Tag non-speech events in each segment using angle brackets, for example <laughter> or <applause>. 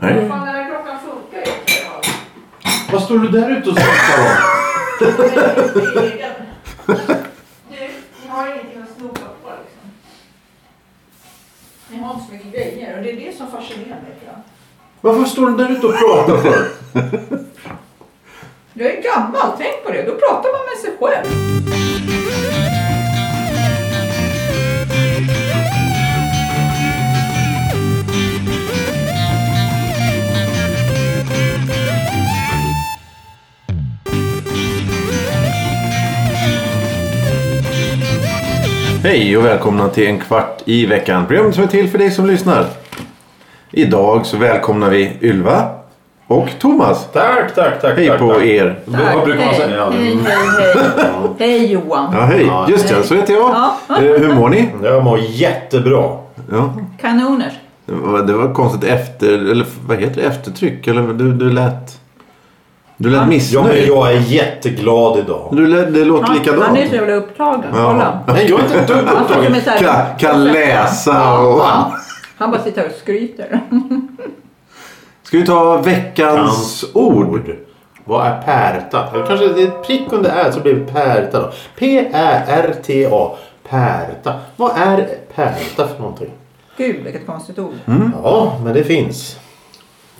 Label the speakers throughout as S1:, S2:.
S1: Nej.
S2: Fan, den här klockan funkar ju inte.
S3: Vad står du där ute och snackar om?
S2: Du, ni har ingenting att snoka på liksom. Ni har inte så mycket grejer och det är det som fascinerar mig. tror jag.
S3: Varför står du där ute och pratar för?
S2: Jag är gammal, tänk på det. Då pratar man med sig själv.
S1: Hej och välkomna till en kvart i veckan. Programmet som är till för dig som lyssnar. Idag så välkomnar vi Ylva och Thomas.
S3: Tack, tack, tack.
S1: Hej
S3: tack,
S1: på
S3: tack.
S1: er.
S3: Vad brukar man säga? Ja,
S2: Hej, hej, hej. Hej Johan.
S1: Ja, hej.
S3: Ja.
S1: Just det, så heter jag.
S2: Ja.
S1: Eh, Hur mår ni?
S3: Jag mår jättebra.
S1: Ja.
S2: Kanoner.
S1: Det var- Det var konstigt efter... Eller vad heter det? Eftertryck? Eller du, du lät... Du lät
S3: Ja, men
S1: missnöjd.
S3: jag är jätteglad idag.
S1: Du lät, det låter likadant.
S2: Han är så jävla upptagen. Kolla.
S3: Nej, jag är inte ett dugg
S2: Han sitter
S3: upptagen.
S2: med så här-
S1: Kan, kan läsa
S2: Ja,
S1: och...
S2: ja. Han bara sitter och skryter.
S1: Ska vi ta veckans ord?
S3: Vad är pärta? Eller kanske det är ett prick under ä så blir det pärta då. P-Ä-R-T-A. Pärta. Vad är pärta för någonting?
S2: Gud, vilket konstigt ord.
S1: Mm.
S3: Ja, men det finns.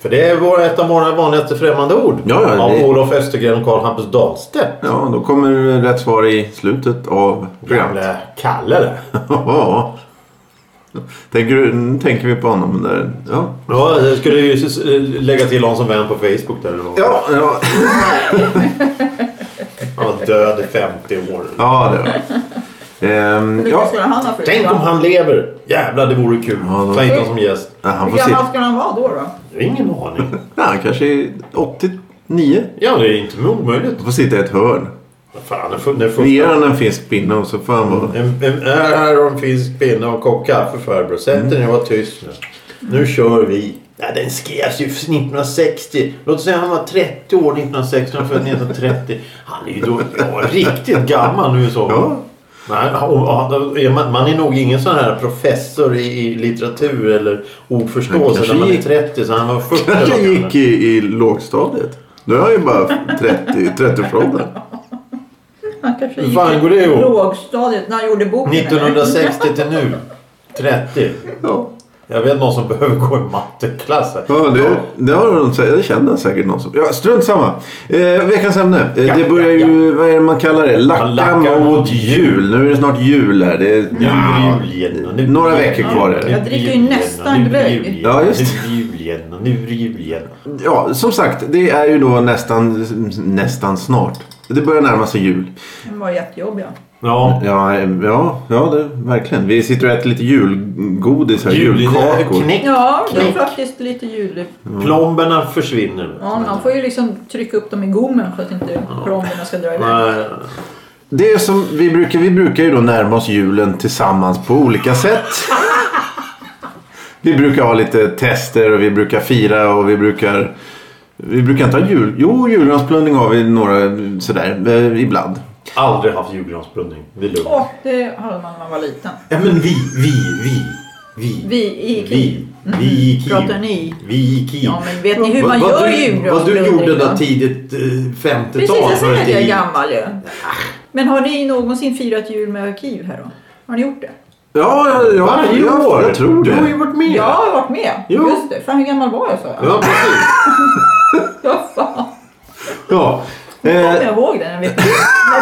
S3: För det är vår- ett av våra vanligaste främmande ord.
S1: Ja, ja,
S3: av
S1: det-
S3: Olof Östergren och Karl Hampus Dahlstedt.
S1: Ja, då kommer rätt svar i slutet av programmet.
S3: Gamle Kalle där.
S1: <laughs> Ja. Tänker, du- nu tänker vi på honom där. Ja.
S3: Ja, jag skulle ju s- s- lägga till honom som vän på Facebook där. eller något.
S1: Ja, ja.
S3: Han var död i 50 år.
S1: ja det var ehm,
S2: Hur
S1: ja.
S2: mycket skulle han ha för
S3: Tänk om
S2: han...
S3: han lever! Jävlar, det vore kul.
S1: Ja, då-
S3: Ta hit honom som gäst.
S1: Ja, Han får
S2: Hur
S1: se.
S2: gammal skulle han vara då? då?
S3: Jag har ingen aning.
S1: Ja, han kanske är 89.
S3: Ja, det är inte omöjligt.
S1: Han får sitta i ett hörn.
S3: Vad Fan, den för, den
S1: Vi ger
S3: första...
S1: han en finsk pinne och så får han vara...
S3: En, en, här har en finsk pinne och en kopp kaffe farbror. Sätt dig ner och var tyst nu. Nu kör vi. Ja, den skrevs ju 1960. Låt oss säga han var 30 år 1960. Han föddes 1930. Han är ju då ja, riktigt gammal nu så.
S1: Ja.
S3: Nej, och- och- är man, man är nog ingen sån här professor i, i litteratur eller
S1: Han
S3: ordförståelse
S1: kanske
S3: när man är
S1: gick-
S3: 30. Så han var 40.
S1: <laughs> Kanske
S3: eller något.
S1: gick i, i lågstadiet. Nu är han ju bara 30, 30-årsåldern.
S2: Han kanske
S3: Hur
S2: gick
S3: fan går det
S2: i
S3: ihop?
S2: lågstadiet när han gjorde boken. eller?
S3: 1960 till nu. 30.
S1: Ja.
S3: Jag vet någon som behöver gå i matteklass. här.
S1: Ja, det, det, har de, sä- det känner säkert någon som. Ja, strunt samma. Eh, veckans ämne. Eh,
S3: Ja,
S1: det börjar
S3: ja,
S1: ju, vad är det man kallar det? Lacka
S3: lackar
S1: mot
S3: mot
S1: jul. Nu är det snart jul här. Det är,
S3: Nu är det jul igen. och nu är det
S1: Några
S3: jul
S1: veckor
S3: igen.
S1: kvar är det.
S3: Nu är
S2: Jag dricker ju
S3: jul igen,
S2: nästan
S3: och nu är det jul
S2: glögg.
S3: igen,
S1: Ja, just
S3: och Nu är det jul igen och nu är det jul igen.
S1: Ja, som sagt. Det är ju då nästan, nästan snart. Det börjar närma sig jul.
S2: Den var jättejobbig. ja.
S3: Ja.
S1: Ja, eh, ja, ja det, verkligen. Vi sitter och äter lite julgodis här.
S3: Jul-
S1: julkakor.
S3: Knäck.
S2: Ja, det är
S3: Knäck.
S2: faktiskt lite jul.
S3: Plomberna försvinner.
S2: Ja, man får ju liksom trycka upp dem i gommen så att inte plomberna ska dra iväg.
S3: Nej.
S1: Det är som vi brukar, vi brukar ju då närma oss julen tillsammans på olika sätt. Vi brukar ha lite tester och vi brukar fira och vi brukar... Vi brukar inte ha jul... Jo, julgransplundring har vi några sådär eh, ibland.
S3: Aldrig haft julgransplundring. Det är lugnt.
S2: Åh, det hade man när man var liten.
S3: Ja, men vi, vi, vi. Vi.
S2: Vi i Mm.
S3: Vi. Vi gick
S2: Pratar ni?
S3: Vi gick
S2: Ja, men vet ni hur man
S3: vad,
S2: gör
S3: du,
S2: julgransplundring?
S3: Vad du gjorde
S2: då?
S3: då tidigt eh, 50-tal.
S2: Precis, jag
S3: hör
S2: säger att
S3: inte
S2: jag är
S3: hit.
S2: gammal ju. Men har ni någonsin firat jul med arkiv här då? Har ni gjort det?
S1: Ja, ja, ja
S3: Varje
S1: ja,
S3: år.
S1: Jag tror
S3: Du har ju
S1: det.
S3: varit med.
S2: Jag har varit med.
S3: Jo.
S2: Just det. Fan hur gammal var jag sa jag?
S3: Ja, precis.
S2: Ja, fan.
S1: Ja.
S2: Jag
S1: Eh,
S2: kommer ihåg det när vi, när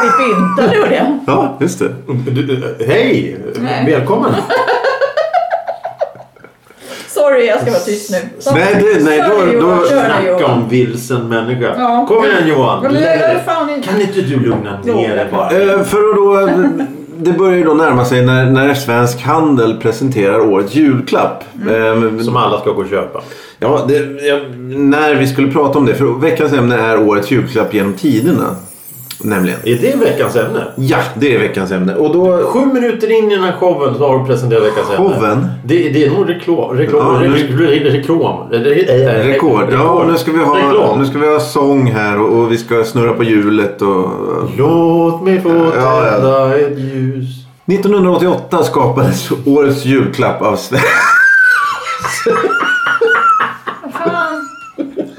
S2: vi pyntade och det.
S1: ja, just det.
S3: Du, du, hej!
S2: Nej.
S3: Välkommen!
S2: Sorry, jag ska vara tyst nu.
S1: Nej, det- nej, då-
S2: Sorry, Johan,
S1: då-
S2: kör nu,
S3: Snacka
S2: Johan.
S3: om vilsen människa.
S2: Ja.
S3: Kom igen Johan!
S2: Men jag gör fan inte-
S3: Kan inte du lugna
S2: Jo.
S3: ner dig bara?
S1: Eh, för att då... Det börjar ju då närma sig när, när Svensk Handel presenterar årets julklapp. Eh,
S3: Som alla ska gå och köpa.
S1: Ja, det, jag, när vi skulle prata om det. För veckans ämne är årets julklapp genom tiderna. Nämligen.
S3: Är det veckans ämne?
S1: Ja, det är veckans ämne. Och då...
S3: Sju minuter in i den här showen så har du presenterat veckans ämne.
S1: Showen?
S3: Det, det är nog reklam. Reklam.
S1: Ja, nu-
S3: re- re- reklam. Re- re-
S1: Rekord. Ja, och nu ska vi ha,
S3: Reklam.
S1: nu ska vi ha sång här och, och vi ska snurra på hjulet och...
S3: Låt mig få
S1: Ja, ja.
S3: tända ett ljus.
S1: 1988 <laughs> skapades årets julklapp av Sven...
S2: Fan,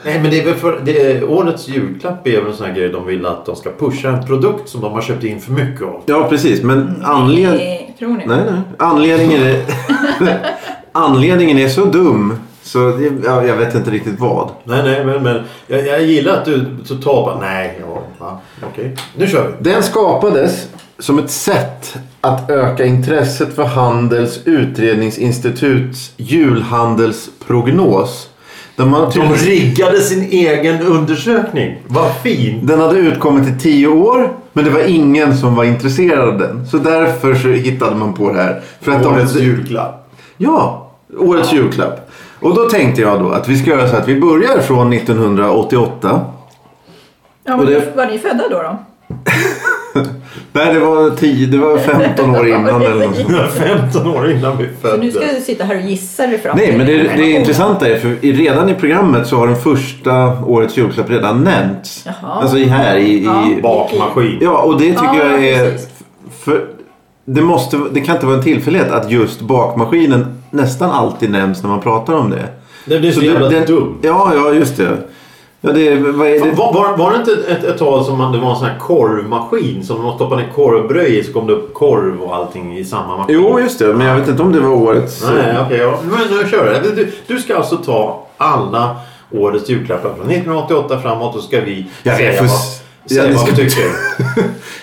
S3: Nej men det är väl för, det är, årets julklapp är väl en sån här grej de vill att de ska pusha en produkt som de har köpt in för mycket av.
S1: Ja, precis. Men anled...
S2: Nej, eh, tror ni?
S1: Nej, nej. Anledningen är... <laughs> Anledningen är så dum. Så det, ja, jag vet inte riktigt vad.
S3: Nej nej men, men jag, jag gillar att du totalt bara nej ja, va, okej. Nu kör vi.
S4: Den skapades som ett sätt att öka intresset för Handels utredningsinstituts julhandelsprognos. Där man
S3: De riggade sin egen undersökning. Vad fint.
S4: Den hade utkommit i tio år, men det var ingen som var intresserad av den. Så därför så hittade man på det här. För att
S3: Årets
S4: de,
S3: julklapp.
S4: Ja, årets julklapp. Och då tänkte jag då att vi ska göra så att vi börjar från 1988.
S2: Ja, men
S1: Och det-
S2: Var ni födda då? då?
S1: Nej, det var, 10, det var 15 år innan eller något sånt.
S3: 15 år innan vi
S2: Så nu
S3: föddes.
S2: ska du sitta här och gissa dig fram.
S1: Nej, men det, det
S2: är
S1: intressanta är för i- redan i programmet så har den första årets julklapp redan nämnts.
S2: Jaha.
S1: Alltså i- här i... i
S2: Ja.
S3: Bakmaskin.
S1: ja, och det tycker
S2: Ja,
S1: jag är...
S2: precis.
S1: För, det, måste, det kan inte vara en tillfällighet att just bakmaskinen nästan alltid nämns när man pratar om det.
S3: Det blir så,
S1: det-
S3: jävla
S1: det-
S3: dumt.
S1: Ja, ja, just det. Ja, det, vad är det?
S3: Var, var, var det inte ett, ett tag som man, det var en sån här korvmaskin som man stoppade en korvbröd i så kom det upp korv och allting i samma maskin?
S1: Jo, just det. Men jag vet inte om det var årets...
S3: Nej, okej. ja. Men nu kör vi. Du, du ska alltså ta alla årets julklappar från 1988 framåt och ska vi
S1: Jag vet,
S3: säga
S1: för-
S3: vad,
S1: ja,
S3: säga
S1: ni
S3: vad vi
S1: ska-
S3: tycker.
S1: <laughs>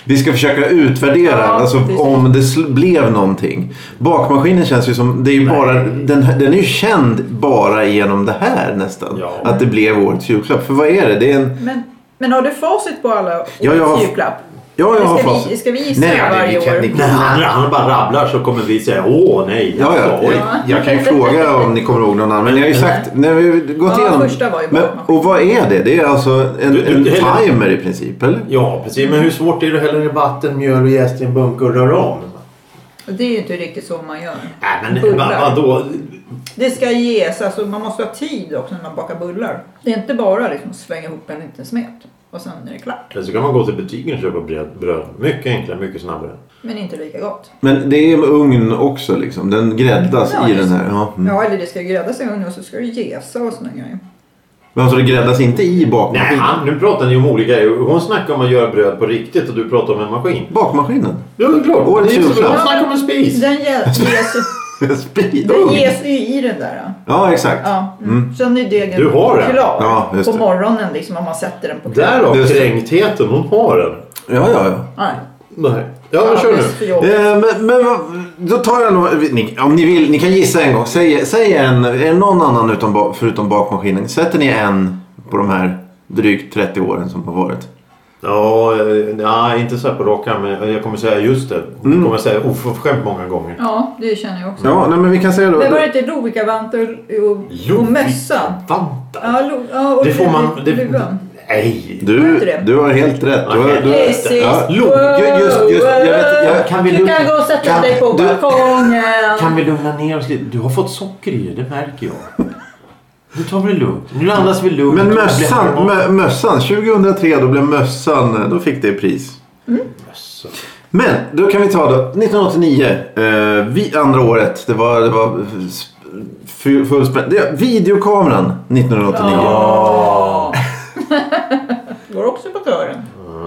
S1: Vi ska försöka utvärdera
S2: Ja,
S1: alltså,
S2: precis.
S1: om det sl- blev någonting. Bakmaskinen känns ju som... Det är ju bara, den, här- den är ju känd bara genom det här nästan.
S3: Ja.
S1: Att det blev årets julklapp. För vad är det? Det är en...
S2: Men, men har du facit på alla årets
S1: Ja, jag har-
S2: julklapp?
S1: Ja, jag
S2: Eller
S1: har
S2: ska, vi,
S1: facit.
S2: ska vi gissa
S1: Nej, det-
S2: varje
S1: vi kan-
S2: år?
S1: ni-
S3: När han, han bara rabblar så kommer vi säga åh nej. alltså,
S1: Ja, ja,
S3: oj.
S1: jag, jag kan ju fråga om ni kommer ihåg någon annan. Men jag har ju
S3: Mm.
S1: sagt... När vi har gått
S2: Ja,
S1: igenom...
S2: första var ju
S1: men,
S2: bakmaskinen.
S1: och vad är det? Det är alltså en,
S3: Du- du-
S1: en
S3: det-
S1: timer i princip, eller?
S3: Ja, precis. Men hur svårt är det att hälla i vatten, mjöl och jäst i en bunke och röra om?
S2: Och Det är ju inte riktigt så man gör.
S3: Nej, men vad,
S2: Bullar.
S3: vadå?
S2: Det ska ges, alltså man måste ha tid också när man bakar bullar. Det är inte bara liksom att slänga ihop en liten smet och sen är det klart.
S3: Eller så kan man gå till butiken och köpa bröd. bröd. Mycket enklare, mycket snabbare.
S2: Men inte lika gott.
S1: Men det är med ugn också liksom. Den gräddas
S2: Ja,
S1: i
S2: just
S1: den
S2: det.
S1: här. Ja. Mm.
S2: Ja, eller det ska gräddas i ugnen och så ska det jäsa och såna grejer.
S1: Men alltså det gräddas inte i
S3: Nej,
S1: bakmaskinen?
S3: han, nu pratar ni om olika grejer. Hon snackar om att göra bröd på riktigt och du pratar om en maskin.
S1: Bakmaskinen? <laughs>
S3: Ja, det är klart.
S1: Årets
S3: Det är ju så bra.
S1: julklapp.
S3: Hon snackar om en spis.
S2: Den jä-
S1: <laughs>
S2: ges,
S1: Speed
S2: den
S1: ugn?
S2: ges ju i den där. ja.
S1: Ja, exakt.
S2: Ja, mm. Sen är degen
S3: Du har den?
S2: klar
S1: Ja, just
S2: på
S1: det.
S2: morgonen liksom om man sätter den på kvällen.
S3: Därav
S1: Just det.
S3: kränktheten. Hon har den.
S1: Ja, ja, ja.
S2: Nej.
S3: Nej. Ja, men kör
S2: Alldeles för
S3: nu.
S2: jobbigt.
S1: Eh, men, men vad- då tar jag nog... Ni, om ni vill, ni kan gissa en gång. Säg, säg en, är det någon annan utom, ba- förutom bakmaskinen? Sätter ni en på de här drygt 30 åren som har varit?
S3: Ja, eh, nej, inte så här på rak arm, men jag kommer säga just det.
S1: Mm.
S3: Jag kommer säga oförskämt många gånger.
S2: Ja, det känner jag också.
S1: Ja, nej, men vi kan säga då.
S2: Men var det inte Lovikkavantar och, och mössa?
S3: Vantar.
S2: Ja, lo, ja, och
S3: Det får man... Det,
S2: luvan.
S3: nej.
S2: var
S1: Du,
S2: inte det?
S1: du har helt rätt. Du har, du har,
S2: Precis.
S1: Lo- ju- just, just, jag vet, jag,
S3: Kan vi
S2: Du
S3: lugna-
S2: kan gå och sätta
S3: kan-
S2: dig på
S1: du-
S2: balkongen.
S3: Kan vi lugna ner oss lite? Du har fått socker i dig, det märker jag. Nu tar vi det lugnt. Nu andas vi lugnt.
S1: Men mössan, mö, mössan, 2003 då blev mössan, då fick det pris.
S3: Mössa.
S1: Men då kan vi ta då 1989, eh, vi, andra året, det var, det var f- f- full spä- det, Videokameran 1989.
S2: Ja. <laughs> Går också på kören.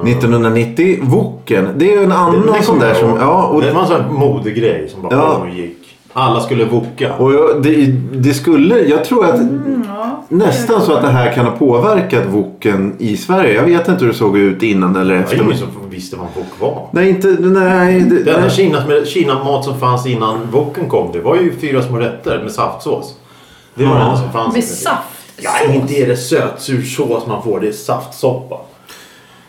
S1: 1990, Woken, det är ju en
S3: Det-
S1: annan sån
S3: det kommer
S1: där
S3: jag
S1: som,
S3: ihåg.
S1: ja, och,
S3: Det var en sån här modegrej som bara
S1: Ja.
S3: kom och gick. Alla skulle voka.
S1: och jag, det, det skulle, jag tror att
S2: Ja.
S1: nästan så att det här kan ha påverkat Woken i Sverige. Jag vet inte hur det såg ut innan eller
S3: Det var
S1: efter.
S3: ingen som visste vad en vok var.
S1: Nej, inte, nej. Det,
S3: Det enda
S1: nej.
S3: Kina, Kina-mat som fanns innan voken kom det var ju fyra små rätter med saftsås. Det var det enda som fanns.
S2: Med saft.
S3: Ja, inte är det sötsur sås man får. Det är saftsoppa.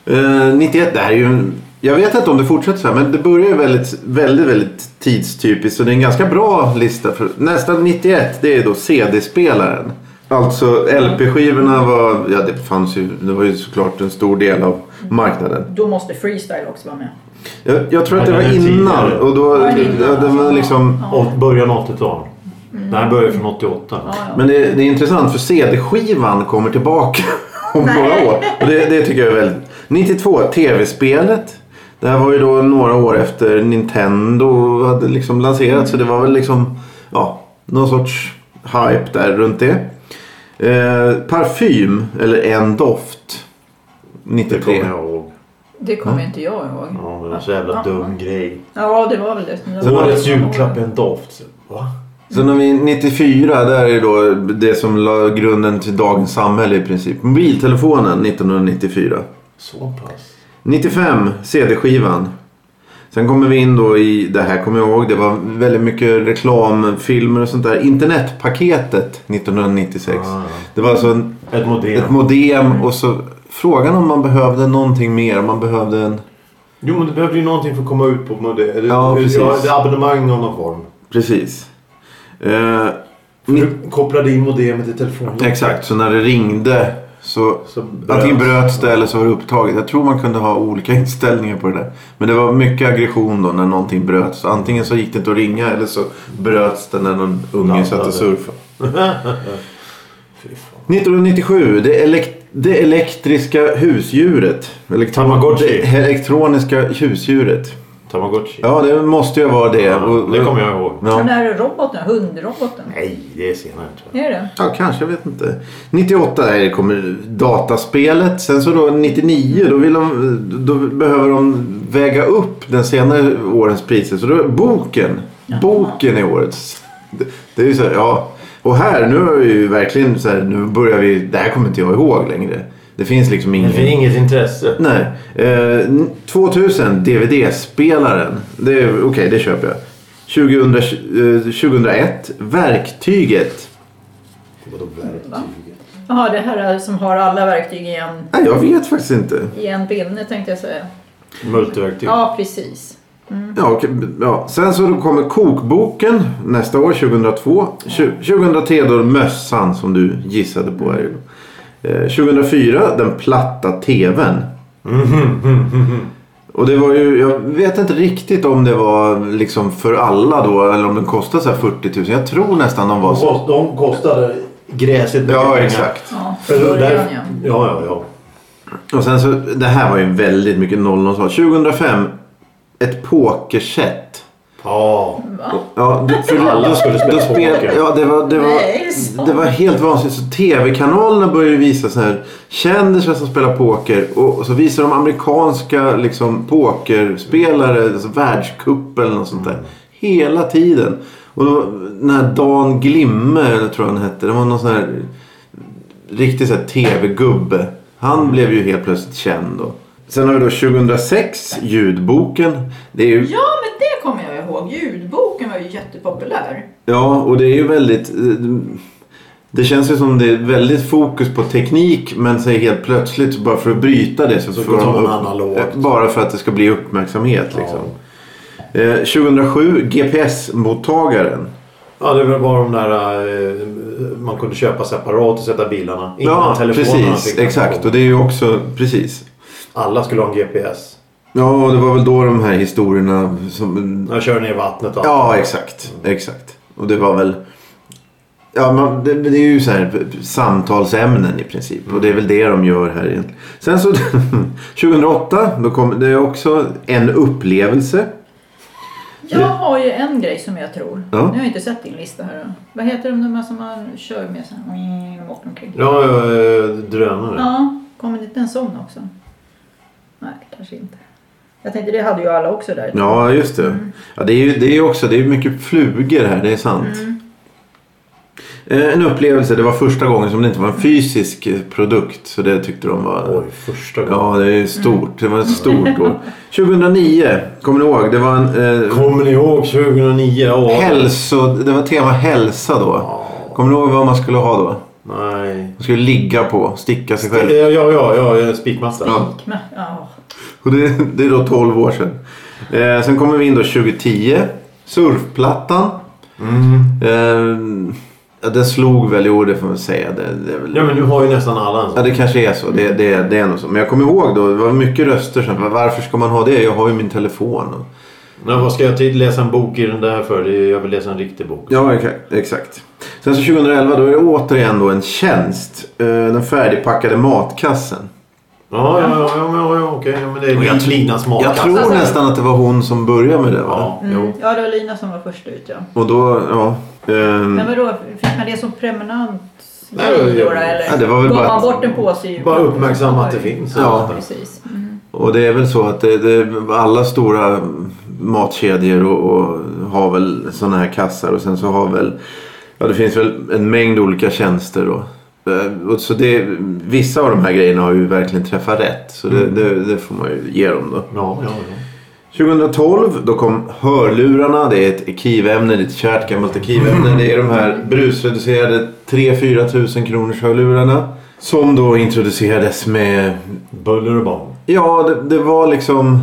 S1: Eh, 91, det här är ju... en- Jag vet inte om det fortsätter så här, men det börjar ju väldigt, väldigt, väldigt tidstypiskt. Så det är en ganska bra lista. För, nästan 91, det är då CD-spelaren. Alltså LP-skivorna var... Ja, det fanns ju... Det var ju såklart en stor del av marknaden.
S2: Då måste freestyle också vara med.
S1: Jag, jag tror att det var
S3: Ja, den
S1: innan.
S3: tidigare.
S1: Och då...
S2: Ja, innan.
S1: ja, Det var liksom...
S3: Och början av 80-talet. Det här börjar från 88.
S2: Mm. Ja, ja.
S1: Men det, det är intressant för CD-skivan kommer tillbaka <laughs> om några år. Och det, det tycker jag är väldigt... 92, TV-spelet. Det här var ju då några år efter Nintendo hade liksom lanserat så det var väl liksom ja, någon sorts hype där runt det. Eh, parfym, eller en doft.
S3: Det kommer
S1: 93.
S3: jag ihåg.
S2: Det kommer inte jag ihåg.
S3: Ja, det var så jävla dum grej.
S2: Ja, det var väl det. som jag-
S3: Årets julklapp är en doft. Va?
S1: Sen har vi 94, där är då det som la grunden till dagens samhälle i princip. Mobiltelefonen 1994.
S3: Så pass?
S1: 95, CD-skivan. Sen kommer vi in då i, det här kommer jag ihåg, det var väldigt mycket reklamfilmer och sånt där. Internetpaketet 1996.
S3: Ah.
S1: Det var alltså en,
S3: Ett
S1: ett
S3: modem.
S1: modem och så frågan om man behövde någonting mer. Om man behövde en...
S3: Jo men du behövde ju någonting för att komma ut på modem.
S1: Ja, precis.
S3: ett abonnemang av någon form.
S1: Precis. Eh, ni-
S3: Du kopplade in modemet i telefonen.
S1: exakt, så när det ringde så
S3: Så bröts.
S1: Antingen bröts det eller så var det upptaget. Jag tror man kunde ha olika <laughs> inställningar på det där. Men det var mycket aggression då när någonting bröts. Så Antingen så gick det inte att ringa eller så bröts det när någon unge
S3: Laddade.
S1: satt och surfade.
S3: Fy fan.
S1: 1997, det, elek- det elektriska husdjuret. Elektro-
S3: Tamagotchi.
S1: Det elektroniska husdjuret.
S3: Tamagotchi.
S1: Ja, det måste ju vara det. Och-
S3: det kommer jag ihåg.
S2: Den
S1: Ja.
S2: där roboten, hundroboten.
S3: Nej, det är senare tror jag.
S2: Är det?
S1: Ja, kanske. Jag vet inte. 98, där kommer dataspelet. Sen så då 99, då, vill de, då behöver de väga upp den senare årens priser. Så då är boken. Boken är årets. Det, det är ju så här, ja. Och här, nu har vi ju verkligen så här, nu börjar vi, det här kommer inte jag ihåg längre. Det finns liksom ingen...
S3: Det finns inget intresse.
S1: Nej. Eh, 2000, DVD-spelaren. Det är- Okej, det köper jag. 2000, eh, 2001, verktyget.
S3: Vadå verktyget?
S2: Jaha, det här är som har alla verktyg i en,
S1: Nej, jag vet faktiskt inte.
S2: i en pinne tänkte jag säga.
S3: Multiverktyg.
S2: Ja, precis.
S1: Ja, okej, ja. Sen så kommer kokboken nästa år, 2002. Tju- 2003 då är det mössan som du gissade på. Här. Eh, 2004 den platta tvn. Och det var ju, jag vet inte riktigt om det var liksom för alla då eller om den kostade så här 40 000. Jag tror nästan de var
S3: De
S1: så.
S3: kost- De kostade gräset mycket
S1: Ja,
S3: pengar.
S1: exakt.
S2: Ja,
S3: För
S2: från
S3: då- där-
S2: början ja.
S3: Ja, ja, ja.
S1: Och sen så, det här var ju väldigt mycket noll och så. 2005, ett pokerset.
S3: Ja.
S1: Ja, du- för alla skulle spela
S3: poker.
S1: Ja, det var, det, var,
S2: Nej, sant.
S1: det var helt vansinnigt. Så tv-kanalerna började visa så här kändisar som spelar poker och och så visar de amerikanska liksom, pokerspelare, alltså världscup eller något sånt där. Hela tiden. Och då, den här Dan Glimme, eller tror jag han hette, det var någon sån här riktig så här tv-gubbe. Han blev ju helt plötsligt känd då. Sen har vi då 2006, ljudboken. Det är ju
S2: Ja, men det kommer jag ihåg. Ljudboken var ju jättepopulär.
S1: Ja, och det är ju väldigt... eh, Det känns ju som det är väldigt fokus på teknik men så helt plötsligt bara för att bryta det så,
S3: Så
S1: får de
S3: tar man
S1: upp, eh,
S3: analogt.
S1: Bara för att det ska bli uppmärksamhet liksom. Eh, 2007, GPS-mottagaren.
S3: Ja, det var bara de där eh, man kunde köpa separat och sätta bilarna. Innan
S1: Ja,
S3: telefonerna
S1: precis.
S3: fick den.
S1: Exakt. Och det är ju också... Precis.
S3: Alla skulle ha en GPS.
S1: Ja, och det var väl då de här historierna som...
S3: När jag kör ner i vattnet och
S1: Ja, exakt. Exakt. Och det var väl... Ja, man, det, det är ju så här samtalsämnen i princip. Och det är väl det de gör här egentligen. Sen så <laughs> 2008, då kom det är också en upplevelse.
S2: Jag har ju en grej som jag tror.
S1: Ja.
S2: Nu har jag inte sett din lista här. då. Vad heter de där som man kör med så här? Mm, Bort omkring.
S3: Ja, eh, drönare.
S2: Ja, kommer det inte en sån också? Nej, kanske inte. Jag tänkte det hade ju alla också där. Mm.
S1: Ja, just det. Ja, det är ju det är ju också det är mycket flugor här, det är sant.
S2: Mm.
S1: Eh, En upplevelse, det var första gången som det inte var en fysisk eh, produkt. Så det tyckte de var...
S3: Oj, första gången.
S1: Ja, det är ju stort. Det var ett stort år. 2009, kommer ni ihåg? Det var en... Eh,
S3: Kommer ni ihåg 2009? Ja.
S1: Hälso, det var tema hälsa då. Kommer du ihåg vad man skulle ha då?
S3: Nej.
S1: Man skulle ligga på, sticka sig
S3: Ja,
S1: själv.
S3: ja, ja, ja spikmatta.
S1: Ja.
S2: Kna- Ja.
S1: Och det, det är då 12 år sedan. Eh, sen kommer vi in då 2010. Surfplattan.
S3: Mm.
S1: Eh, ja, den slog väl, jo det får man säga. Det, det är väl...
S3: Ja, men nu har ju nästan alla alltså. en
S1: Ja,
S3: sån.
S1: det kanske är så. Det, det, det är nog så. Men jag kommer ihåg då, det var mycket röster sen. "Va- Varför ska man ha det? Jag har ju min telefon. Och...
S3: Nej, vad ska jag till läsa en bok i den där för? Det är- Jag vill läsa en riktig bok.
S1: Ja, exa- exakt. Sen så 2011, då är det återigen då en tjänst. Eh, den färdigpackade matkassen.
S3: Ja, ja, ja, ja, ja, ja okej. Ja, men det
S1: Och jag
S3: är
S1: tror-
S3: Linas
S1: Jag
S3: matkasse.
S1: tror nästan att det var hon som började med det. Va?
S3: Alltså, Ja,
S2: Mm.
S3: jo.
S2: ja, det var Lina som var först ut ja.
S1: Och då, ja. ehm,
S2: Men vadå, fick man det som prenumerant?
S3: Nej, det var ju-
S2: sidor eller
S1: Ja, det var väl
S2: gav
S1: bara-
S2: man bort en påse i
S3: Bara
S2: julklapp?
S3: uppmärksamma att det finns.
S1: Ja.
S2: Precis. Mm.
S1: Och det är väl så att det, det, alla stora matkedjor och, och har väl sådana här kassar och sen så har väl Ja det finns väl en mängd olika tjänster då. Eh, och Så det, vissa av de här grejerna har ju verkligen träffat rätt. Så det, det, det får man ju ge dem då.
S3: Ja, ja, ja.
S1: 2012 då kom hörlurarna. Det är ett arkivämne, det är ett kärt gammalt arkivämne. Det är de här brusreducerade 3-4 tusen kronors hörlurarna. Som då introducerades med
S3: Buller och bång.
S1: Ja, det, det var liksom...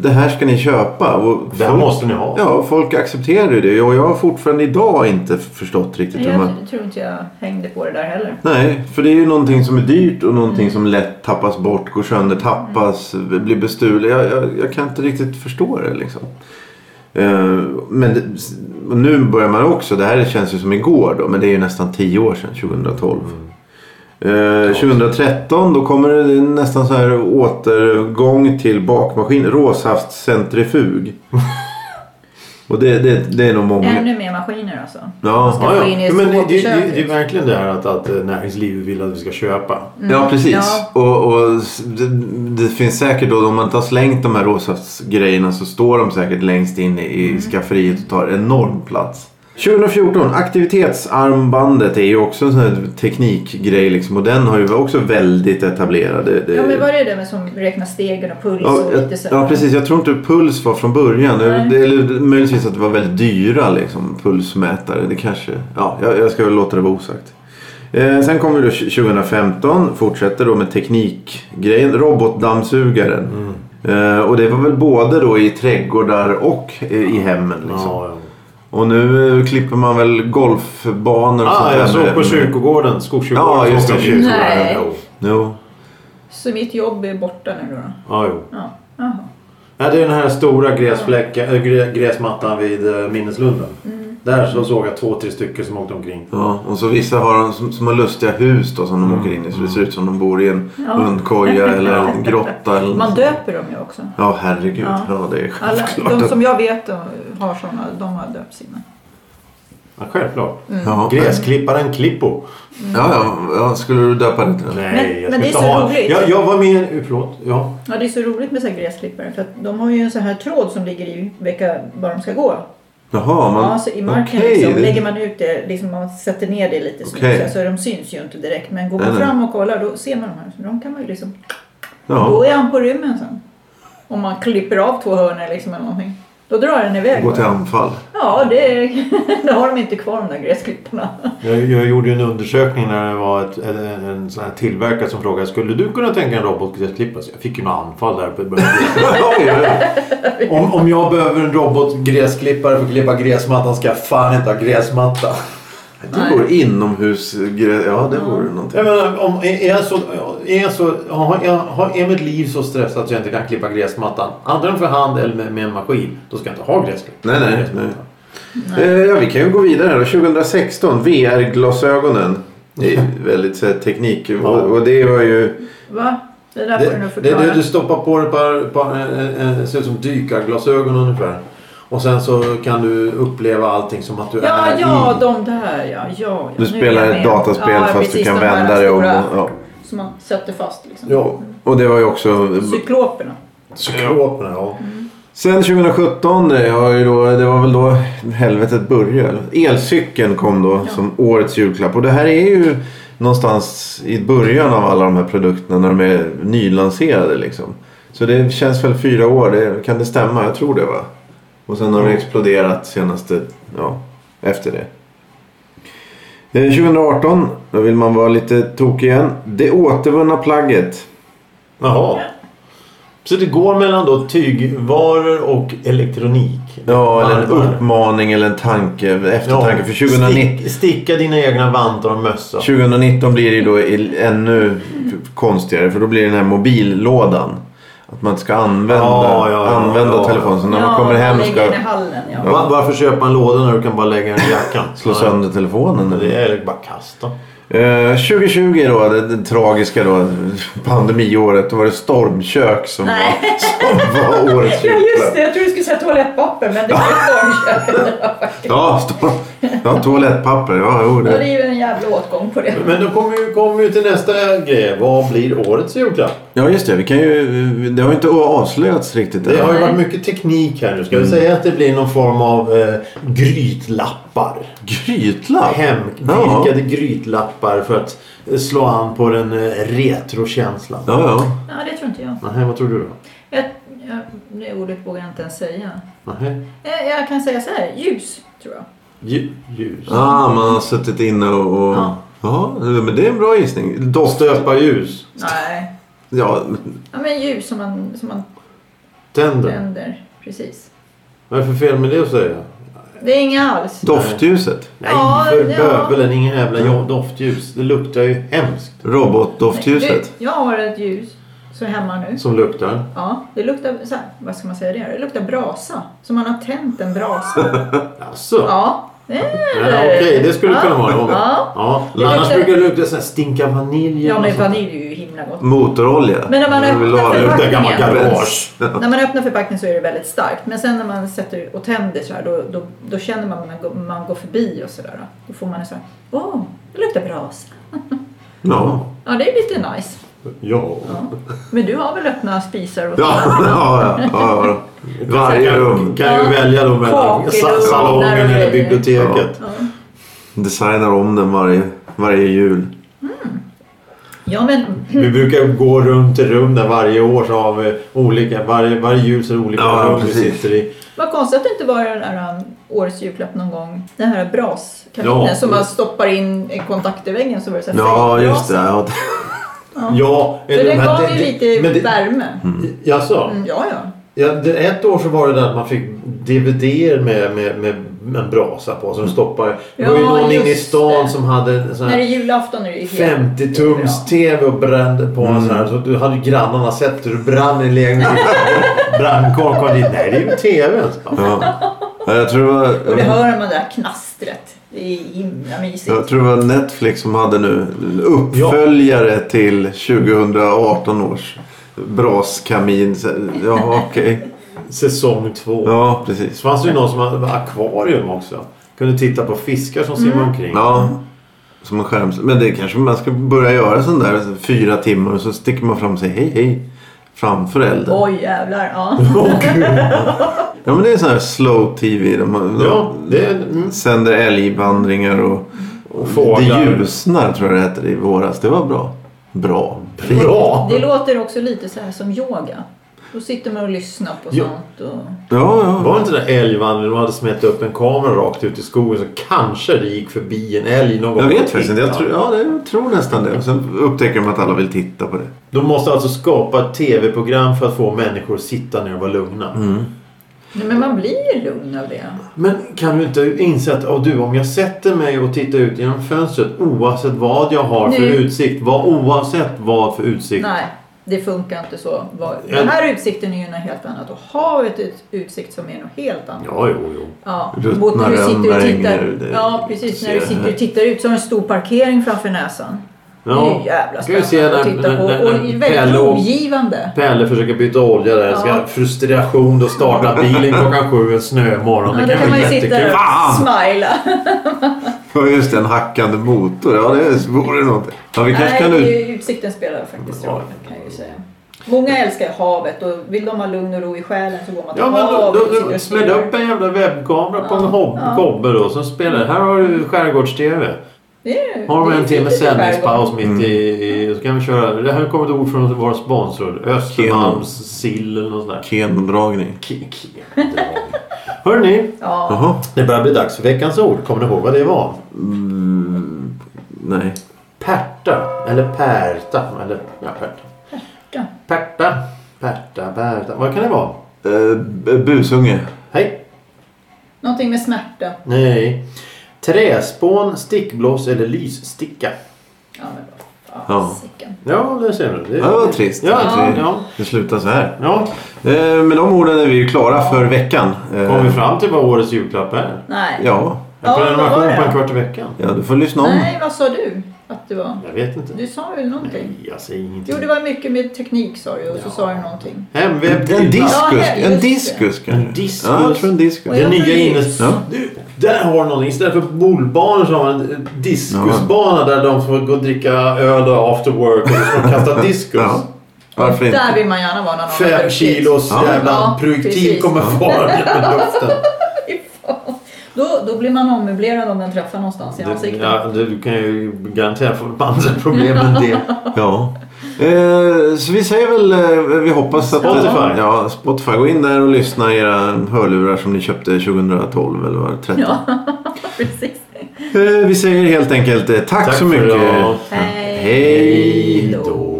S1: Det här ska ni köpa. Och
S3: Det här
S1: folk-
S3: måste ni ha.
S1: Ja, folk accepterar ju det. Och jag har fortfarande idag inte förstått riktigt hur man...
S2: Jag tror inte jag hängde på det där heller.
S1: Nej, för det är ju någonting som är dyrt och någonting som lätt tappas bort, går sönder, tappas, blir bestulet. Jag, jag, jag kan inte riktigt förstå det liksom. Eh, Men det, och nu börjar man också, det här känns ju som igår då, men det är ju nästan 10 år sedan, 2012. Eh, 2013 då kommer det nästan så här återgång till bakmaskin, råsaftcentrifug. och det, det, det är nog många.
S2: Ännu mer maskiner alltså.
S1: Ja,
S2: Ska
S3: ja,
S2: få in i
S3: ja. Men det, det, det,
S2: skåpköket.
S3: det är verkligen det här att, att eh, näringslivet vill att vi ska köpa.
S1: Ja, precis.
S2: Mm. ja.
S1: Och, och s- det, det finns säkert då, om man inte har slängt de här råsaftsgrejerna så står de säkert längst in i,
S2: Mm.
S1: i skafferiet och tar enorm plats. 2014, aktivitetsarmbandet är ju också en sån här teknikgrej liksom, och den har ju också väldigt etablerad. eh, Det, det,
S2: Ja men var det det med som räknar stegen och puls
S1: Ja,
S2: och lite
S1: jag,
S2: så?
S1: ja precis, jag tror inte puls var från början.
S2: Nej.
S1: Det, eller möjligtvis att det var väldigt dyra liksom, pulsmätare. Det kanske, ja, jag, jag ska väl låta det vara osagt. Eh, sen kommer vi då 2015, fortsätter då med teknikgrejen, robotdammsugaren.
S2: Mm.
S3: Mm.
S1: Eh, och det var väl både då i trädgårdar och eh, i hemmen. Liksom.
S3: Ja, ja.
S1: Och nu eh, klipper man väl golfbanor och sånt
S3: Ah,
S1: där
S3: jag såg
S1: med-
S3: på kyrkogården, skogskyrkogården.
S1: Ja,
S3: såg
S1: just
S3: jag
S1: det.
S3: kyrkogården.
S2: Nej.
S3: Ja, jo.
S1: Jo.
S2: Så mitt jobb är borta nu då? då?
S3: Ja, jo.
S2: Ja. Jaha.
S3: Ja, det är den här stora gräsfläcken, äh, grä- gräsmattan vid äh, minneslunden.
S2: Mm.
S3: Där så såg jag två, tre stycken som åkte omkring.
S1: Ja, och så vissa har de som, som har lustiga hus då, som
S3: Mm.
S1: de åker in i så det ser ut som de bor i en
S2: Ja. <laughs>
S1: hundkoja eller en grotta. Eller
S2: Man
S1: något.
S2: döper dem ju också.
S1: Ja, herregud.
S2: Ja.
S1: Ja. det är
S2: Alla,
S1: självklart.
S2: de
S1: att-
S2: som jag vet eh, har sådana, de har Mm. döpts innan.
S3: Ja, självklart.
S1: ja.
S3: Gräsklipparen Klippo.
S1: Ja, ja, ja, skulle du döpa det till det?
S3: Nej,
S2: Men- men
S3: jag skulle
S2: det är
S3: inte
S2: så
S3: ha...
S2: roligt.
S3: Jag, jag var med... uh, Förlåt. Ja.
S2: Ja, det är så roligt med så här gräsklippare för att de har ju en sån här tråd som ligger i vilka, var de ska gå.
S1: Jaha, man...
S2: ja, så i marken
S1: okej,
S2: liksom,
S1: det-
S2: lägger man ut det, liksom, man sätter ner det lite snyggt
S1: Okej.
S2: så här, så de syns ju inte direkt. Men går
S1: Nej,
S2: man
S1: nej.
S2: fram och kollar då ser man de här. Så de kan man ju liksom,
S1: ja.
S2: då är han på rymmen sen. Om man klipper av två hörnor liksom eller någonting. Då drar den iväg.
S1: Gå till anfall.
S2: Ja, det, <laughs> det har de inte kvar de där gräsklipparna.
S3: Jag, jag gjorde ju en undersökning när det var ett, en, en- en sån här tillverkare som frågade Skulle du kunna tänka en robotgräsklippare? Så jag fick ju några anfall där. på- på-
S1: Oj, <laughs> oj.
S3: om, om jag behöver en robotgräsklippare för att klippa gräsmattan ska jag fan inte ha gräsmatta.
S1: det vore inomhusgrej. Ja, det vore någonting.
S3: Jag menar, om, är, är jag så, är, jag så, har, jag, har, är mitt liv så stressat att jag inte kan klippa gräsmattan antingen för hand eller med, med en maskin då ska jag inte ha gräsklippare.
S1: Nej, nej, nej. Eh, Ja, vi kan ju gå vidare här då. 2016, VR-glasögonen. Det är väldigt så här, teknik. Och, och det var ju...
S2: Va? Det där får du nog
S3: Det, det,
S2: förklara.
S3: det du stoppar på dig par, par, eh, eh, ser ut som dykarglasögon ungefär. Och sen så kan du uppleva allting som att du
S2: Ja,
S3: är
S2: ja,
S3: i...
S2: de där ja. ja, ja.
S1: Du
S2: nu
S1: spelar
S2: är jag med.
S1: ett dataspel
S2: Ja,
S1: fast du
S2: precis,
S1: kan
S2: de här
S1: vända dig om. Och,
S2: stora
S1: ja.
S2: Som man sätter fast liksom.
S3: Ja,
S1: och det var ju också...
S2: Cykloperna.
S3: cykloperna ja.
S1: Sen 2017, det har ju då, det var väl då helvetet började. Elcykeln kom då som årets julklapp. Och det här är ju någonstans i början av alla de här produkterna när de är nylanserade liksom. Så det känns väl fyra år, det, kan det stämma? Jag tror det va? Och sen har det exploderat senaste, ja, efter det. Eh, 2018, då vill man vara lite tokig igen. Det återvunna plagget.
S3: Jaha. Så det går mellan då tygvaror och elektronik?
S1: Ja, eller en
S3: Varvar.
S1: uppmaning eller en tanke, eftertanke. För 2019
S3: Stick, sticka dina egna vantar och mössa.
S1: 2019 blir det ju då i- ännu konstigare för då blir det den här mobillådan. Att man ska använda,
S3: Ja, ja, ja,
S1: använda
S3: ja.
S1: telefonen. Så när man kommer hem
S2: lägger den
S1: ska
S2: i hallen ja.
S3: Va- Varför köpa en låda när du kan bara lägga den i jackan?
S1: <laughs> slå sönder telefonen.
S3: Ja, Det är eller bara kasta.
S1: Eh, 2020 då, det, det tragiska då, pandemiåret. Då var det stormkök som, var,
S2: Nej.
S1: <laughs> som var årets
S2: Ja just
S1: julklapp.
S3: <laughs>
S2: det, jag tror du skulle säga toalettpapper men det var ju stormkök.
S1: Ja, storm, Ja, toalettpapper. Ja, jo,
S2: Ja, det
S1: det.
S2: är ju en jävla åtgång på det.
S3: Men då kommer vi, kommer vi till nästa grej. Vad blir årets julklapp?
S1: ja, just det. Vi kan ju, det har ju inte avslöjats riktigt.
S3: Det
S1: än.
S3: har ju varit mycket teknik här nu. Ska
S2: Mm.
S3: vi säga att det blir någon form av eh, grytlappar?
S1: Grytlapp? Ja.
S3: Hemvirkade grytlappar för att eh, slå an på den eh, retrokänslan.
S1: Ja, ja.
S2: Ja, det tror inte jag.
S3: Nähä, vad tror du då?
S2: jag, jag det ordet vågar jag inte ens säga.
S3: Nähä.
S2: Jag, jag kan säga så här, ljus tror jag.
S3: Lju- Ljus.
S1: Ah, man har suttit inne och... och...
S2: Ja.
S1: Ja. men det är en bra gissning. Doft...
S3: Stöpa ljus.
S2: Nej,
S1: Ja,
S2: ja, men ljus som man, som man
S3: Tänder.
S2: tänder. Precis.
S3: Vad är det för fel med det att säga?
S2: Det är inga alls.
S1: doftljuset.
S3: Nej,
S2: Ja,
S3: för
S2: ja.
S3: bövelen. Inga jävla ja, doftljus. Det luktar ju hemskt.
S1: Robotdoftljuset.
S2: Du, jag har ett ljus som är hemma nu.
S3: Som luktar.
S2: Ja, det luktar, så här, vad ska man säga det? Det luktar brasa. Som man har tänt en brasa.
S3: <laughs> Alltså.
S2: Ja. det är-
S3: Ja, Okej, det skulle kunna vara någon.
S2: Ja.
S3: Ja.
S2: Det
S3: Annars
S2: luktar-
S3: brukar det lukta så här stinka vanilj.
S2: Ja,
S3: eller
S2: men
S3: något sånt.
S2: vanilj är ju himla gott.
S1: Motorolja.
S2: Men när man
S1: Jag vill
S2: öppnar
S1: ha
S2: för
S1: det.
S2: varje-
S3: Luktar gammal garage.
S2: När man öppnar förpackningen så är det väldigt starkt. Men sen när man sätter och tänder så här, då, då, då känner man när man går- man går förbi och sådär. Då får man en sån här, åh, det luktar brasa.
S1: Ja.
S2: Ja, det är lite nice.
S3: Ja.
S2: Ja. Men du har väl öppna spisar och
S1: Ja, ja, ja, ja. Varje rum.
S3: Kan ju
S2: Ja.
S3: välja då mellan
S2: Kakelugnar
S3: sa-
S2: och
S3: salongen eller
S2: grejer.
S3: biblioteket.
S2: Ja.
S1: Designar om den varje, varje jul.
S2: ja, men
S3: Vi brukar gå runt i rum där varje år så har vi olika, varje, varje jul så är det olika
S1: Ja,
S3: rum vi
S1: precis.
S3: sitter i.
S2: vad konstigt att det inte var den här um, årets julklapp någon gång. Den här braskaminen
S3: Ja.
S2: som man stoppar in i kontakterväggen så var det så här
S1: Ja,
S2: fejkbrasa.
S1: just det. Ja.
S3: Ja,
S2: Så
S3: eller de
S2: den
S3: här-
S2: gav ju
S3: det-
S2: lite
S3: men det-
S2: värme.
S3: Jaså?
S2: Mm, ja, ja.
S3: Ja, det, ett år så var det där att man fick DVDer med, med, med en brasa på som stoppade. Det var ju
S2: Ja,
S3: någon inne i
S2: just
S3: stan
S2: det.
S3: som hade en sån
S2: När det
S3: här
S2: är julafton är det ju helt...
S3: 50-tums-TV och brände på en
S1: Mm.
S3: sån här. Så du hade ju grannarna sett hur du brann i <laughs> lägenheten. Brandkåren kom dit. Nej, det är ju alltså. TVn.
S1: Ja.
S2: <laughs>
S1: Ja, Jag tror det
S2: Och det
S1: var...
S2: hör man det där knastret. Det är himla mysigt.
S1: Jag tror det var Netflix som hade nu uppföljare till 2018 års braskamin. Så- Ja, okej.
S3: Säsong två.
S1: Ja,
S3: Så
S1: precis.
S3: fanns det ju någon som hade akvarium också. Kunde titta på fiskar som
S2: Mm.
S3: simmar omkring.
S1: Ja, som en skärm. Men det kanske man ska börja göra sån där fyra timmar och så sticker man fram och säger hej, hej. Framför elden.
S2: Oj jävlar.
S3: <laughs>
S2: Ja.
S3: Åh, gud.
S1: Ja, men det är sån här slow tv. De, de
S3: ja, det är... Mm.
S1: sänder älgvandringar och, det
S3: Och fåglar.
S1: ljusnar tror jag det hette i våras. Det var bra. Bra.
S3: Bra!
S2: Det låter också lite så här som yoga. Då sitter man och lyssnar på
S3: Jo.
S2: sånt. Och...
S1: Ja, ja.
S3: Var det inte den där älgvandringen de hade smätt upp en kamera rakt ut i skogen så kanske det gick förbi en älg någon gång?
S1: Jag
S3: och
S1: vet faktiskt inte. Jag
S3: tittade.
S1: tror, ja, det- jag tror nästan det. Och sen upptäcker de att alla vill titta på det.
S3: De måste alltså skapa ett tv-program för att få människor att sitta ner och vara lugna.
S1: Mm.
S2: Nej, men man blir ju lugn av det.
S3: Men kan du inte inse att "Åh, du, om jag sätter mig och tittar ut genom fönstret oavsett vad jag har för
S2: Nej.
S3: utsikt, vad, oavsett vad för utsikt.
S2: Nej, det funkar inte så. Vad-
S3: Ja.
S2: Den här utsikten är ju något helt annat. Och havet är ett utsikt som är något helt annat.
S3: Ja, jo, jo.
S2: Ja,
S1: Ruttna
S2: mot när du sitter och
S1: rönnbär hänger
S2: tittar.
S1: det-
S2: Ja, precis. När du
S1: ser
S2: sitter
S1: här.
S2: och tittar ut så har du en stor parkering framför näsan.
S3: Ja.
S2: Det är ju jävla
S3: Ska vi se
S2: spännande att
S3: när-
S2: titta
S3: när-
S2: på.
S3: när-
S2: Och
S3: när
S2: väldigt
S3: Pelle och-
S2: omgivande.
S3: Pelle försöker byta olja där. Ska
S2: Ja.
S3: frustration då starta bilen klockan sju en snömorgon.
S2: Ja,
S3: det
S2: då
S3: kan
S2: kan man
S3: bli
S2: ju sitta
S3: jättekul.
S2: där
S3: Ah!
S2: och
S1: Fan!
S2: smila.
S1: Ja, just det. En hackande motor. Ja, det vore något. Ja, vi kanske
S2: Nej,
S1: kan
S2: det
S1: ut...
S2: är ju- utsikten spelar faktiskt roll kan jag ju säga. Många älskar havet och vill de ha lugn och ro i själen så går man till
S3: Ja men då,
S2: havet och sitter
S3: då, då
S2: och
S3: smäll
S2: spelar.
S3: upp en jävla webbkamera på en
S2: Ja,
S3: hob-
S2: ja.
S3: gobbe då som spelar. Här har du skärgårds-tv.
S2: Det är-
S3: Har
S2: det
S3: de
S2: är
S3: en timme
S2: fint i
S3: sändningspaus
S2: skärgården.
S3: mitt i, i... Så kan vi köra. Det här kommer ett ord från vår sponsor. Östermalms sill eller något sånt där.
S1: Kendragning.
S3: K- k- Hörrni,
S2: Ja,
S1: Jaha.
S3: det börjar bli dags för veckans ord. Kommer ni ihåg vad det var?
S1: Mm, nej.
S3: Pärta. Eller pärta. Eller ja, pärta.
S2: ja.
S3: Pärta. Pärta, pärta. Vad kan det vara?
S1: Eh, b- busunge.
S3: Hej.
S2: Någonting med smärta.
S3: Nej. Träspån, stickblås eller lyssticka.
S2: Ja, men vad
S1: Ja.
S2: fasiken.
S3: Ja, det ser du. Det,
S1: Ja, vad trist.
S3: Ja,
S1: Ja.
S3: ja. ja.
S1: Det slutar så här.
S3: ja.
S1: Eh, med de orden är vi ju klara för veckan. Eh,
S3: Kom vi fram till vad årets julklapp är?
S2: Nej.
S1: Ja.
S3: En
S2: Ja, vad var
S3: prenumeration
S2: det?
S3: på en kvart i veckan.
S1: ja, du får lyssna om.
S2: Nej, vad sa du att det var?
S3: Jag vet inte.
S2: Du sa ju någonting.
S3: Nej, jag säger ingenting.
S2: Jo, det var mycket med teknik sa du och så
S3: Ja.
S2: sa du någonting.
S3: Hemvävd
S1: En
S3: hylla.
S1: diskus.
S2: Ja, just
S1: En
S2: det.
S1: diskus kanske.
S3: En diskus.
S1: Ja, jag tror en diskus.
S2: Och jag
S3: Den
S2: tror
S3: nya
S2: det är
S3: innes...
S2: ljus.
S1: Ja.
S3: Du, Där har någon, istället för bolbanor så har man en diskusbana där de får gå och dricka öl och after work och så får de <laughs> kasta diskus.
S1: Ja. Varför inte?
S2: Där vill man gärna vara när någon har
S3: Fem
S2: druckit.
S3: kilos
S1: Ja.
S3: jävla
S2: Ja,
S3: projektil
S2: precis.
S3: kommer farande i luften.
S2: Då, då blir man ommöblerad om den träffar någonstans i ansiktet.
S3: Ja, det- du kan ju garanterat få andra problem än det.
S1: Ja. Eh, så vi säger väl, eh, vi hoppas att...
S3: Spotify.
S1: Ja, Spotify. Gå in där och lyssna i era hörlurar som ni köpte 2012 eller vad det var, 13.
S2: <laughs> Ja, precis.
S1: Eh, vi säger helt enkelt eh, tack,
S3: Tack
S1: så
S3: för
S1: mycket.
S3: idag.
S2: Hej
S1: Hej
S2: då.